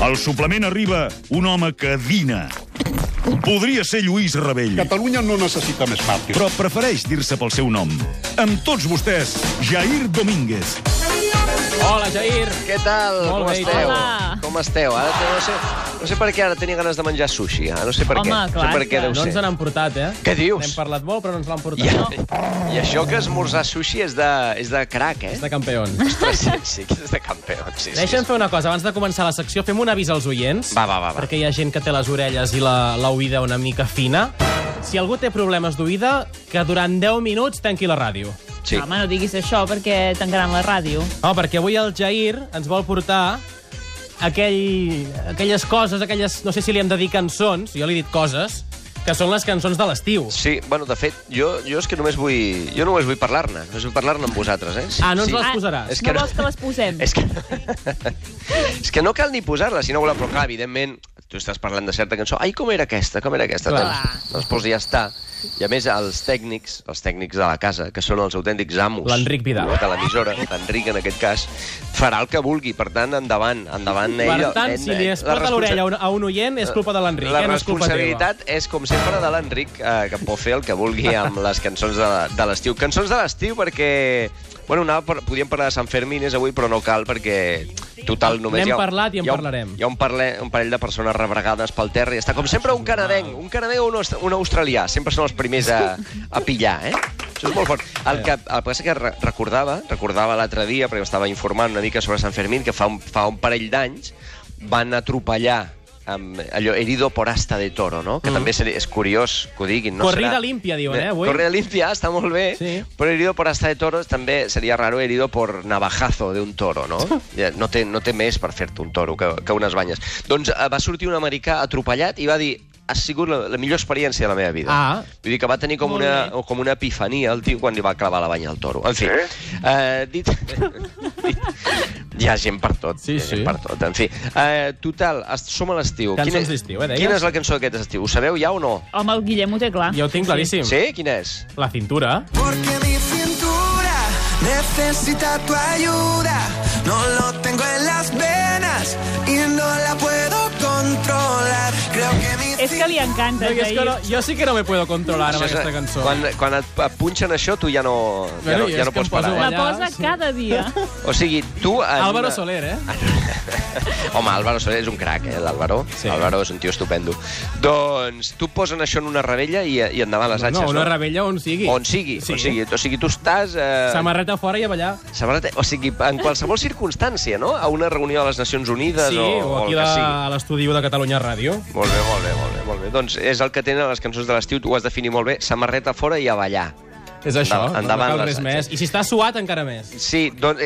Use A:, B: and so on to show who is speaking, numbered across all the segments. A: Al suplement arriba un home que dina. Podria ser Lluís Rebell,
B: Catalunya no necessita més màrtirs.
A: però prefereix dir-se pel seu nom. Amb tots vostès, Jair Domínguez.
C: Hola, Jair.
D: Què tal?
C: Molt
D: Com
C: bé, i tu?
D: esteu?
E: Hola.
D: Com esteu? Ara te- no, sé, no sé per què ara tenia ganes de menjar sushi. Ara no sé per
E: Home,
D: què. no
E: clar,
D: sé per què
E: clar,
D: deu
C: No ens
D: ser.
C: n'han portat, eh?
D: Què dius?
C: N'hem parlat molt, però no ens l'han portat.
D: I,
C: No.
D: I això que esmorzar sushi és de, és de crac, eh?
C: És de campeons.
D: Ostres, sí, sí, que és de campions. Sí, sí.
C: Deixa'm fer una cosa, abans de començar la secció, fem un avís als oients.
D: Va, va, va, va.
C: Perquè hi ha gent que té les orelles i la, la oïda una mica fina. Si algú té problemes d'oïda, que durant 10 minuts tanqui la ràdio.
D: Sí.
E: Home, no diguis això perquè tancaran la ràdio.
C: No, perquè avui el Jair ens vol portar aquell, aquelles coses, aquelles... No sé si li hem de dir cançons, jo li he dit coses, que són les cançons de l'estiu.
D: Sí, bueno, de fet, jo, jo és que només vull... Jo només vull parlar-ne. Només vull parlar-ne amb vosaltres, eh? Sí,
C: Ah, no ens
D: sí.
C: les posaràs.
D: És que
E: És que
D: no.
E: no vols que les posem?
D: És que, és que no cal ni posar-la, si no voleu, però clar, evidentment, tu estàs parlant de certa cançó. Ai, com era aquesta? Com era aquesta?
C: Clar.
D: Doncs, doncs posa ja està. I a més, els tècnics, els tècnics de la casa, que són els autèntics amos...
C: L'Enric Vidal.
D: De l'emissora, l'Enric en aquest cas, farà el que vulgui. Per tant, endavant, endavant. ell,
C: Per tant,
D: ell,
C: si li
D: ell,
C: es
D: eh, la
C: porta l'orella
D: responsa-
C: a un- a un oient, és culpa de l'Enric,
D: la
C: eh? no és culpa teva.
D: responsabilitat és, com sempre, de l'Enric, eh, que pot fer el que vulgui amb les cançons de, de l'estiu. Cançons de l'estiu perquè... Bueno, anava per, podíem parlar de Sant Fermín, és avui, però no cal, perquè total només...
C: N'hem
D: hi ha-
C: parlat i en
D: hi ha un-
C: parlarem.
D: Hi ha un, parle, un parell de persones rebregades pel terra i està com sempre un canadenc, un canadenc o un, aus- un australià. Sempre són els primers a, a pillar, eh? Això és molt fort. El que, el que passa que re- recordava, recordava l'altre dia, perquè estava informant una mica sobre Sant Fermín, que fa un, fa un parell d'anys van atropellar amb allò, herido por asta de toro, no? Que mm. també se- és curiós que ho diguin. No
C: Corrida limpia, diuen, eh, avui.
D: Corrida limpia, està molt bé,
C: Sí.
D: sí. però herido por asta de toros també seria raro herido por navajazo de un toro, no? Ja, No té, no té més per fer-te un toro que, que unes banyes. Doncs eh, va sortir un americà atropellat i va dir ha sigut la, la millor experiència de la meva vida.
C: Ah.
D: Vull dir que va tenir com
E: Molt
D: una,
E: bé.
D: o com una epifania el tio quan li va clavar la banya al toro. En fi, eh? Eh, dit... dit... Hi ha gent per tot.
C: Sí,
D: hi ha gent
C: sí.
D: Per tot. En fi, eh, total, est- som a l'estiu.
C: Cançons
D: Quina-
C: d'estiu, eh, deies?
D: Quina és la cançó d'aquest estiu? Ho sabeu ja o no?
E: Home, el Guillem ho té clar.
C: Jo ho tinc claríssim.
D: Sí? Quina és?
C: La cintura.
F: Porque mi cintura necesita tu ayuda. No lo tengo en las venas y no la puedo controlar. Creo que mi
E: És que li
C: No,
E: encanta, no,
C: jo, és que no, jo sí que no me puedo controlar amb
D: Això és-
C: aquesta cançó.
D: Quan, quan et et punxen això, tu ja no, ja
C: Bueno,
D: no,
C: i
D: ja
C: és
D: no
C: que em
D: pots
C: poso
D: parar.
E: La
D: eh?
C: allà,
E: posa
C: sí.
E: cada dia.
D: O sigui, tu... En
C: Álvaro
D: una- Ah,
C: Soler, eh?
D: Home, Álvaro Soler és un crac, eh, l'Álvaro.
C: Sí.
D: Sí. Álvaro és un tio estupendo. Doncs tu posen això en una rebella i, i endavant les atxes,
C: No, una
D: no?
C: rebella on sigui.
D: On sigui,
C: Sí.
D: sí. o sigui, o sigui, tu estàs... Eh...
C: Samarreta fora i a ballar.
D: Samarreta, o sigui, en qualsevol circumstància, no? A una reunió de les Nacions Unides
C: Sí,
D: o,
C: o aquí
D: el que sigui.
C: a l'estudi de Catalunya Ràdio.
D: Molt bé, molt bé, molt bé, molt bé. Doncs és el que tenen les cançons de l'estiu, tu ho has definit molt bé, samarreta fora i a ballar.
C: És això,
D: Endavant, endavant
C: no cal
D: les
C: res
D: atxes.
C: més. I si està suat, encara més.
D: Sí, doncs...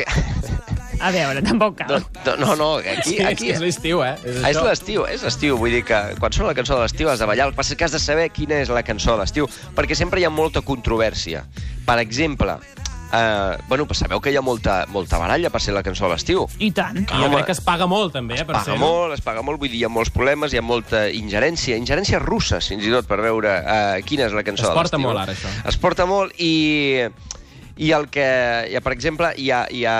E: A veure, tampoc cal.
D: No, no, no
C: Sí,
D: aquí, aquí,
C: és que és l'estiu, eh? És,
D: Ah, és
C: això.
D: l'estiu, és l'estiu. Vull dir que quan sona la cançó de l'estiu has de ballar. El que passa és que has de saber quina és la cançó de l'estiu, perquè sempre hi ha molta controvèrsia. Per exemple, eh, bueno, pues sabeu que hi ha molta, molta baralla per ser la cançó de l'estiu.
E: I tant.
C: I jo
D: Home.
C: crec que es paga molt, també, eh? Per
D: eh? Paga
C: ser-ho.
D: molt, es paga molt, vull dir, hi ha molts problemes, hi ha molta ingerència, ingerències russes, fins i tot, per veure eh, quina és la
C: Es
D: cançó de
C: porta
D: l'estiu.
C: molt, ara, això.
D: Es porta molt i... I el que, ja, per exemple, hi ha, hi ha,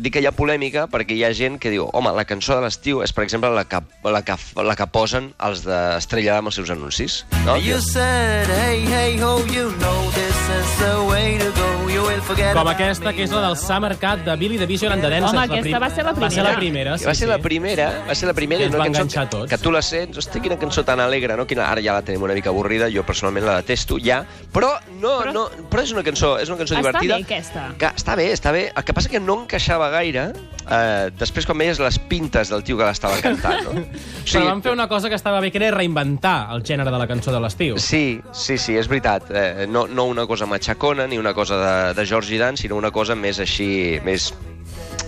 D: dic que hi ha polèmica perquè hi ha gent que diu home, la cançó de l'estiu és, per exemple, la que, la que, la que posen els d'Estrella amb els seus anuncis. No?
F: You said, hey, hey, ho, you know this is the way to go. You will forget
C: Com
F: about
C: aquesta,
F: me
C: que és la del Summer Cat de Billy Division and the Dancers.
E: Home,
C: la
E: aquesta
C: prim-
E: va ser la
C: Va ser la
E: primera.
C: primera, sí,
D: va ser la
C: sí.
D: primera, va ser la primera
C: Que
D: i
C: ens
D: una
C: va
D: cançó
C: enganxar a tots.
D: que tu la sents, hosti, quina cançó tan alegre, no? Quina, ara ja la tenim una mica avorrida, jo personalment la detesto ja, però no,
E: Però-
D: però... no, però és una cançó, és una cançó
E: Està
D: divertida.
E: bé, aquesta.
D: Que està bé, està bé. El que passa que no encaixava gaire eh, després quan veies les pintes del tio que l'estava cantant, no? O
C: Però van fer una cosa que estava bé, que era reinventar el gènere de la cançó de l'estiu.
D: Sí, sí, sí, és veritat. Eh, no, no una cosa machacona ni una cosa de, de Georgie Dan, sinó una cosa més així, més,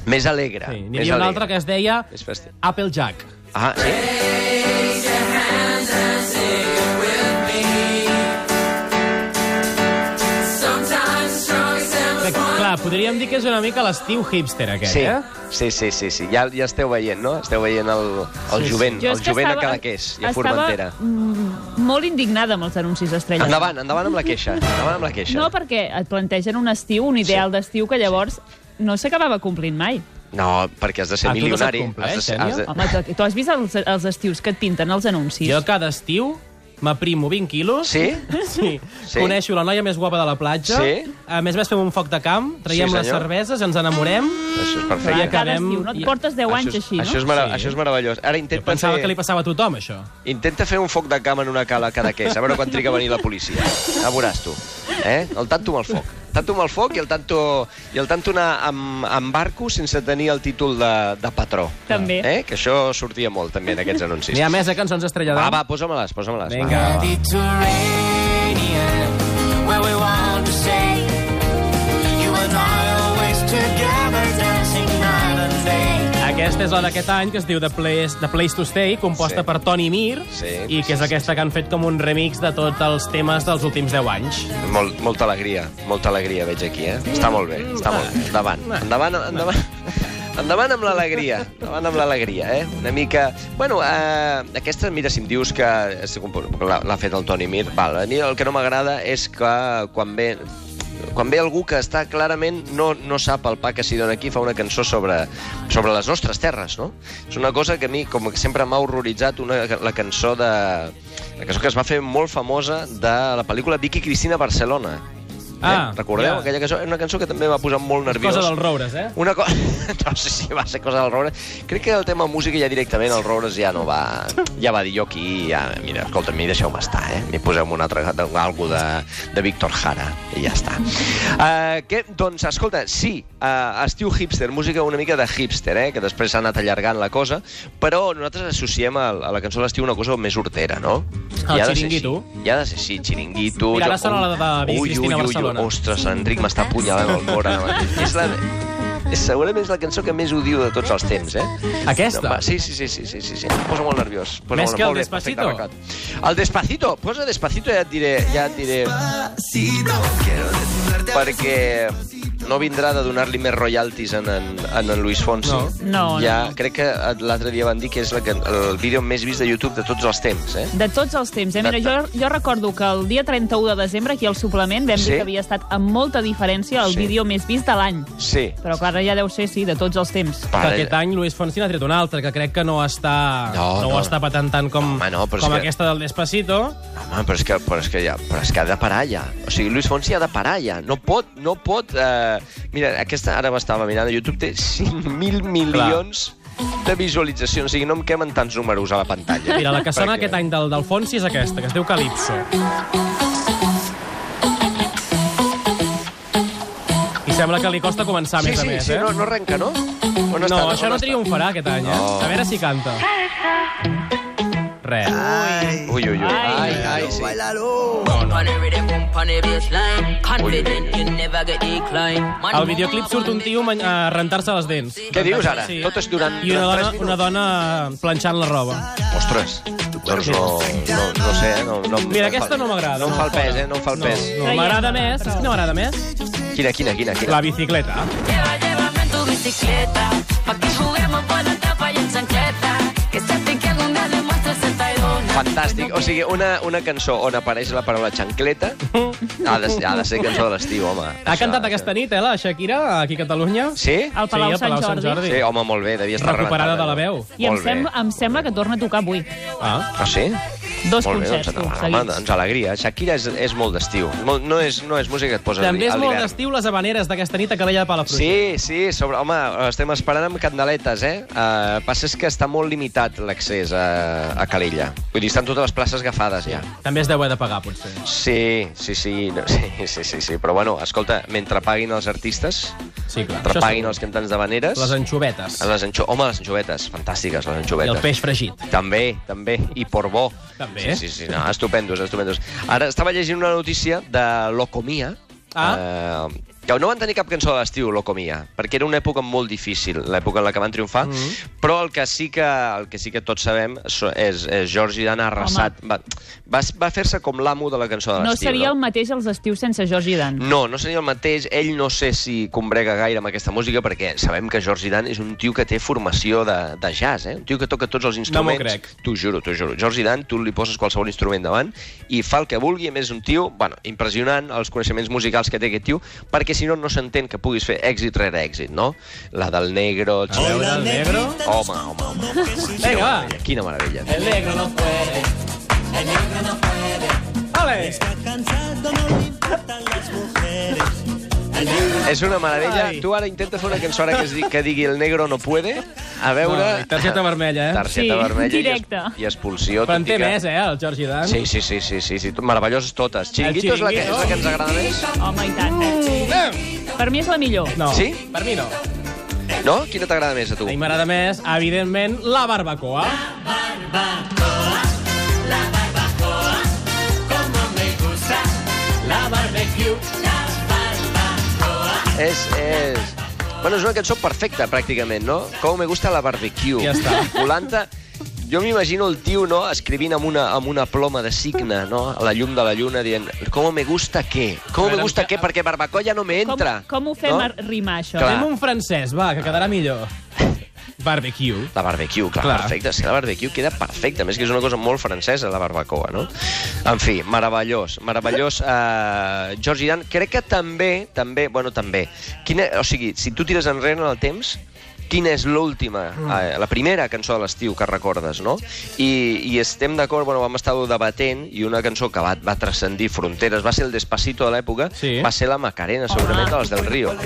D: més alegre.
C: Sí, N'hi
D: més
C: havia una
D: alegre.
C: altra que es deia
D: Més fàstic.
C: Applejack.
D: Ah, sí?
C: Que, clar, podríem dir que és una mica l'estiu hipster, aquest,
D: Sí,
C: eh?
D: sí, sí, sí, sí. Ja, ja esteu veient, no? Esteu veient el, el
C: Sí, sí.
D: jovent,
E: Jo és
D: el
E: que
D: jovent a
E: estava-
D: Cadaqués i a
E: estava- mm,
D: Formentera.
E: Molt indignada amb els anuncis d'Estrella.
D: Endavant, endavant amb la queixa. Endavant amb la queixa.
E: No, perquè et plantegen un estiu, un ideal d'estiu, que llavors no s'acabava complint mai.
D: No, perquè has de ser
C: Ah, tu no
D: milionari.
C: se't compleix,
D: has de ser,
C: Tènia?
D: has de...
E: Home, tu, tu has vist els, els estius que et pinten els anuncis?
C: Jo cada estiu m'aprimo 20 quilos.
D: Sí?
C: Sí.
D: Sí?
C: sí. Coneixo la noia més guapa de la platja.
D: Sí?
C: A més a més, fem un foc de camp, traiem
D: Sí,
C: les
D: senyor.
C: cerveses, ens enamorem.
D: Això és
E: Clar,
D: perfecte.
E: cada
C: acabem-
E: estiu, no? Et
C: i-
E: portes 10 anys
D: això, és,
E: així, no?
D: això, és mara...
C: Sí.
D: això és meravellós. Ara intenta
C: Pensava
D: fer...
C: que li passava a tothom, això.
D: Intenta fer un foc de camp en una cala cadaqués, a veure quan triga a venir la policia. Ja veuràs tu. Eh? El tanto amb el foc. Tanto amb el foc i el tanto, i el tanto anar amb, amb barco sense tenir el títol de, de patró.
E: També.
D: Eh? Que això sortia molt, també, en aquests anuncis.
C: N'hi ha més a cançons estrellades.
D: Va, va, posa-me-les, posa-me-les. va.
C: Vinga. va.
G: Mediterranean, where we want to stay. You and I always together, dancing night and day.
C: Aquesta és la d'aquest any, que es diu The Place, The Place to Stay, composta
D: Sí.
C: sí. per Tony Mir,
D: Sí,
C: i que és aquesta que han fet com un remix de tots els temes dels últims 10 anys.
D: Molt, molta alegria, molta alegria veig aquí, eh? Està molt bé, està molt bé. Endavant, endavant, endavant. Endavant amb l'alegria, endavant amb l'alegria, eh? Una mica... Bueno, eh, aquesta, mira, si em dius que és- l'ha l'ha fet el Toni Mir, val, a mi el que no m'agrada és que quan ve quan ve algú que està clarament no, no sap el pa que s'hi dona aquí, fa una cançó sobre, sobre les nostres terres, no? És una cosa que a mi, com que sempre m'ha horroritzat, una, la cançó de... La cançó que es va fer molt famosa de la pel·lícula Vicky Cristina Barcelona.
C: Ah,
D: eh? Recordeu?
C: ja.
D: Aquella cançó, era una cançó que també va posar molt nerviós.
C: Cosa dels roures, eh?
D: Una cosa... No sé si va ser cosa del Roures. Crec que el tema música ja directament el Roures ja no va... Ja va dir jo aquí, ja... Mira, escolta, a mi deixeu-me estar, eh? M'hi poseu un altre... Algo de, de Víctor Jara. I ja està. Uh, que, doncs, escolta, sí, uh, estiu hipster, música una mica de hipster, eh? Que després s'ha anat allargant la cosa, però nosaltres associem a, a la cançó d'estiu una cosa més hortera, no?
C: El
D: I ha
C: Ah,
D: de ser
C: xiringuito.
D: així. I ha de ser així, xiringuito...
C: Mira, ara
D: jo-
C: sona la de Vicky
D: Ui,
C: Cristina
D: ui, ui, ui,
C: Barcelona.
D: Ostres, l'Enric m'està apunyalant el cor ara mateix. És la... És segurament és la cançó que més odio de tots els temps, eh?
C: Aquesta?
D: va, sí, sí, sí, sí, sí, sí, sí. Em posa molt nerviós. Em Posa
C: Més
D: molt,
C: que el
D: molt bé,
C: Despacito?
D: perfecte, Ricard. El Despacito, posa Despacito i ja et diré, ja et diré, perquè no vindrà de donar-li més royalties en, en, en, en Luis Fonsi.
C: No.
E: No, no,
D: ja,
E: no.
D: Crec que l'altre dia van dir que és la, can- el vídeo més vist de YouTube de tots els temps, eh?
E: De tots els temps. Eh? Mira, jo, jo recordo que el dia 31 de desembre, aquí al suplement, vam
D: Sí?
E: dir que havia estat amb molta diferència el
D: Sí.
E: vídeo més vist de l'any.
D: Sí.
E: Però clar, ara ja deu ser, sí, de tots els temps.
C: Que aquest any Luis Fonsi n'ha tret un altre, que crec que no està,
D: No,
C: no,
D: no.
C: ho està patant tant com,
D: Home, no, però és
C: com
D: que-
C: aquesta del Despacito.
D: Home, però és que, però és que, ja, però és que ha de parar ja. O sigui, Luis Fonsi ha de parar ja. No pot, no pot... Eh... Mira, aquesta ara estava mirant a YouTube, té 5.000 milions de visualitzacions. O sigui, no em quemen tants números a la pantalla.
C: Mira, la que sona
D: Perquè-
C: aquest any del, del Fonsi és aquesta, que es diu Calypso. I sembla que li costa començar
D: Sí,
C: més
D: sí,
C: a més,
D: sí,
C: eh?
D: no, no arrenca, no? On
C: No,
D: està,
C: això
D: on
C: no
D: està?
C: triomfarà aquest any, eh?
D: No.
C: A veure si canta. Res.
D: Ui, ui, ui. Ai,
E: Ai.
D: ai, sí.
C: Al videoclip surt un tio man- a rentar-se les dents.
D: Què dius ara? Tot és durant
C: I una
D: durant
C: dona,
D: tres
C: una
D: minuts?
C: dona planxant la roba.
D: Ostres, doncs no, no, no sé, eh? no, no,
C: Mira, aquesta no m'agrada.
D: No em fa el pes, eh? No em fa el
C: No,
D: pes.
C: no, m'agrada més. Saps quina m'agrada més?
D: Quina, quina, quina, quina?
C: La bicicleta.
G: Lleva, llévame en tu bicicleta, pa' que juguemos por la tapa y en chancleta. Que se te que algún día le muestres el tairón.
D: Fantàstic. O sigui, una, una cançó on apareix la paraula xancleta ha de, ser- ha de ser cançó de l'estiu, home.
C: Ha cantat aquesta nit, eh, la Shakira, aquí a Catalunya.
D: Sí?
E: Al Palau,
C: sí, al
E: Sant,
C: Palau
E: Jordi.
C: Sant Jordi.
D: Sí, home, molt bé, devia estar
C: Recuperada de la veu.
E: I em,
D: Molt bé.
E: sembla, em sembla que torna a tocar avui.
C: Ah.
D: Ah, sí?
E: Dos
D: molt bé,
E: concerts,
D: doncs,
E: tu,
D: home,
E: seguits.
D: doncs alegria. Shakira és, és molt d'estiu. Molt- No, és, no és música que et poses
C: També
D: a
C: és molt
D: l'hivern.
C: d'estiu les habaneres d'aquesta nit a Calella de Palafrugell.
D: Sí, sí, sobre, home, estem esperant amb candeletes, eh? Uh, passa és que està molt limitat l'accés a, a Calella. Vull dir, estan totes les places agafades ja.
C: També es deu haver de pagar, potser.
D: Sí, sí, sí, no, sí, sí, sí, sí, però bueno, escolta, mentre paguin els artistes,
C: Sí, clar.
D: mentre
C: Això
D: paguin
C: segur.
D: els cantants de veneres...
C: Les anxovetes.
D: les anxo... Home, les anxovetes, fantàstiques, les
C: I
D: anxovetes.
C: el peix fregit.
D: També, també. I Porbó.
C: També.
D: Sí, sí, sí. No, estupendos, estupendos. Ara estava llegint una notícia de Locomia.
C: Ah.
D: Eh, que no van tenir cap cançó de l'estiu, Locomia, perquè era una època molt difícil, l'època en la que van triomfar, mm -hmm. però el que sí que, el que, sí que tots sabem so- és, és Georgi Dan arrasat. Va, va, va fer-se com l'amo de la cançó de
E: No
D: l'estiu.
E: seria el mateix els estius sense Jordi Dan.
D: No, no seria el mateix. Ell no sé si combrega gaire amb aquesta música, perquè sabem que George Dan és un tio que té formació de, de jazz, eh? Un tio que toca tots els instruments.
C: crec.
D: T'ho juro, t'ho juro. George Dan, tu li poses qualsevol instrument davant i fa el que vulgui. A més, és un tio, bueno, impressionant els coneixements musicals que té aquest tio, perquè si no, no s'entén que puguis fer èxit rere èxit, no? La del negro...
C: A veure, el negro...
D: Home, home, home.
C: Vinga, va.
D: Quina meravella.
C: El negro no puede. Vale.
D: És una meravella.
C: Ai.
D: Tu ara intenta fer una cançó ara que, es di que digui el negro no puede. A veure...
C: Ai, targeta vermella, eh?
D: Targeta
E: Sí,
D: vermella i es-
E: directe.
D: i expulsió.
C: Però en té
D: tot i que-
C: més, eh, el Jordi Dan.
D: Sí, sí, sí, sí, sí, sí. meravelloses totes. Chiringuito és la que, és la que ens agrada més.
E: Home, i tant. eh? Per mi és la millor.
C: No,
D: Sí?
C: per mi no.
D: No? Quina t'agrada més a tu?
C: A mi m'agrada més, evidentment, la barbacoa.
D: És, és... Bueno, és una cançó perfecta, pràcticament, no? Com me gusta la barbecue.
C: Ja està.
D: Volanta... Jo m'imagino el tio, no?, escrivint amb una, amb una ploma de signe, no?, a la llum de la lluna, dient, com me gusta què? Com
C: veure,
D: me gusta
C: em-
D: què? Perquè barbacoa ja no me
E: Com,
D: entra.
E: com ho fem
D: no?
E: no? rimar, això?
D: Clar.
C: Fem un francès, va, que quedarà millor. Barbecue.
D: La barbecue, clar,
C: Clar.
D: clar. perfecte. Sí, la barbecue queda perfecta. A més que és una cosa molt francesa, la barbacoa, no? En fi, meravellós, meravellós. Uh, George Dan, crec que també, també, bueno, també. Quina, o sigui, si tu tires enrere en el temps, quina és l'última, eh, la primera cançó de l'estiu que recordes, no? I, i estem d'acord, bueno, vam estar debatent, i una cançó que va, va transcendir fronteres, va ser el Despacito de l'època,
C: Sí.
D: va ser la Macarena, segurament, de les del Río.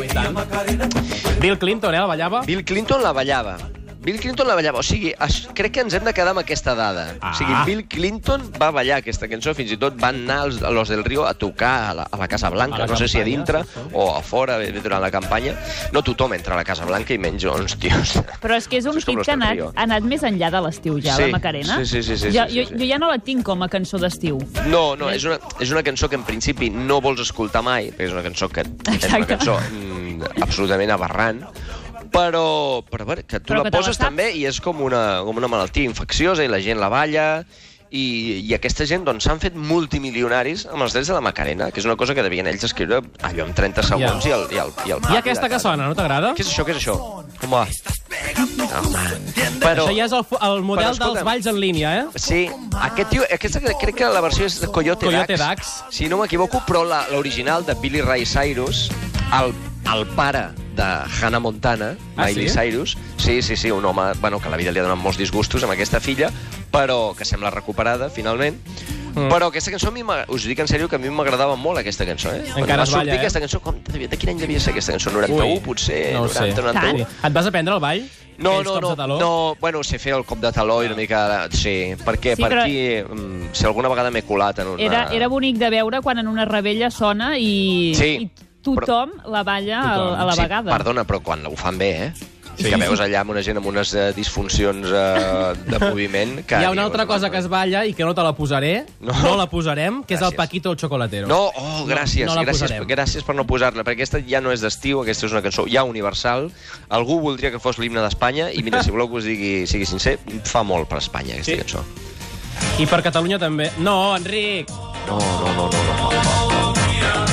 C: Bill Clinton, eh, la ballava?
D: Bill Clinton la ballava. Bill Clinton la ballava. O sigui, es- crec que ens hem de quedar amb aquesta dada. Ah. O sigui,
C: Ah.
D: Bill Clinton va ballar aquesta cançó, fins i tot van anar els, a los del Río a tocar a la, a la Casa
C: A
D: Blanca,
C: la
D: no sé si a
C: campanya,
D: dintre
C: sí, sí.
D: o a fora bé, durant la campanya. No tothom entra a la Casa Blanca i menys uns tios.
E: Però és que és un
D: Això és com
E: tip que ha anat,
D: l'Ostratorio.
E: ha anat més enllà de l'estiu ja,
D: Sí,
E: la Macarena.
D: sí, sí, sí, sí,
E: jo,
D: sí, sí,
E: jo,
D: sí.
E: jo ja no la tinc com a cançó d'estiu.
D: No, no, és una, és una cançó que en principi no vols escoltar mai, perquè és una cançó que és una
E: Exacte.
D: cançó mm, absolutament aberrant, però, però bueno, que tu
E: Però
D: la
E: que te la
D: poses
E: saps.
D: també i és com una, com una malaltia infecciosa i la gent la balla i, i aquesta gent doncs, s'han fet multimilionaris amb els drets de la Macarena, que és una cosa que devien ells escriure allò en 30 segons i el, i el, i el
C: I aquesta que sona, no t'agrada?
D: Què és això, què és això? Home, home. Però...
C: Això ja és el, fo- el model
D: escolta'm.
C: dels balls en línia, eh?
D: Sí, aquest tio, aquesta crec que la versió és de Coyote,
C: Coyote
D: Dax.
C: Dax.
D: Si no m'equivoco, però la- l'original de Billy Ray Cyrus, el, el pare de Hannah Montana,
C: Ah,
D: Miley
C: sí?
D: Cyrus, sí, sí, sí, un home bueno, que la vida li ha donat molts disgustos amb aquesta filla, però que sembla recuperada, finalment. Mm. Però aquesta cançó, a mi m'ag- us dic en sèrio, que a mi m'agradava molt aquesta cançó, eh? Quan
C: Encara
D: va
C: es balla,
D: sortir
C: eh?
D: aquesta cançó, com, de de quin any devia ser aquesta cançó? 91,
C: Ui,
D: potser?
C: no ho
D: 90,
C: sé.
D: 91?
E: Tant.
C: Et vas aprendre el ball?
D: No,
C: Aquells
D: no,
C: cops
D: no,
C: de Ah. taló?
D: no, bueno, sé fer el cop de taló i una mica... Sí, perquè
E: Sí,
D: per
E: però-
D: aquí, mm, si alguna vegada m'he colat en una...
E: Era, era bonic de veure quan en una rebella sona i,
D: Sí,
E: i tothom la balla
C: Tothom.
E: al- a la
D: sí,
E: vegada.
D: Perdona, però quan ho fan bé, eh? Sí. Que veus allà amb una gent amb unes eh, disfuncions eh, de moviment... Que
C: Hi ha una altra cosa que es balla i que no te la posaré, no,
D: No.
C: la posarem, que és el
D: Gràcies.
C: Paquito el Chocolatero.
D: No, oh, gràcies,
C: no la
D: gràcies,
C: posarem.
D: gràcies per no posar-la, perquè aquesta ja no és d'estiu, aquesta és una cançó ja universal. Algú voldria que fos l'himne d'Espanya, i mira, si voleu que us digui, sigui sincer, fa molt per Espanya, aquesta
C: Sí.
D: sí. cançó.
C: I per Catalunya també. No, Enric!
D: No, no, no, no, no.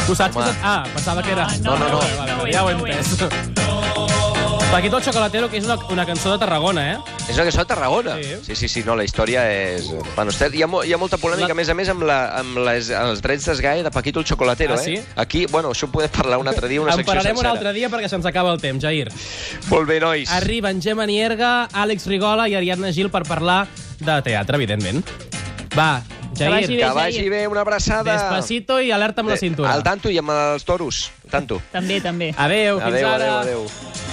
C: Ho saps que...
D: Home.
C: saps- Ah, pensava que era...
E: No,
D: no, no.
C: Vale, vale,
E: No ho
C: vale,
E: és,
C: ja ho he
E: no ho
C: entès. Paquito el Chocolatero, que és una, una cançó de Tarragona, eh?
D: És una cançó de Tarragona.
C: Sí.
D: Sí, sí, sí, no, la història és... Bueno, està, hi, ha, mo- hi ha molta polèmica,
C: La-
D: a més a més, amb, la, amb les, els drets d'esgai de Paquito el Chocolatero,
C: Ah, sí?
D: eh? Aquí, bueno, això ho podem parlar un altre dia, una
C: en
D: secció
C: parlarem un
D: sencera.
C: altre dia perquè se'ns acaba el temps, Jair.
D: Molt bé, nois.
C: Arriben Gemma Nierga, Àlex Rigola i Ariadna Gil per parlar de teatre, evidentment. Va, Jair,
E: vagi bé.
D: Que vagi
E: Jair.
D: bé, una abraçada. Eh,
C: despacito i alerta amb la cintura.
D: Al tanto i amb els toros. Tanto.
E: També, també.
C: Adéu, fins
D: Adéu,
C: ara.
D: adéu, adéu.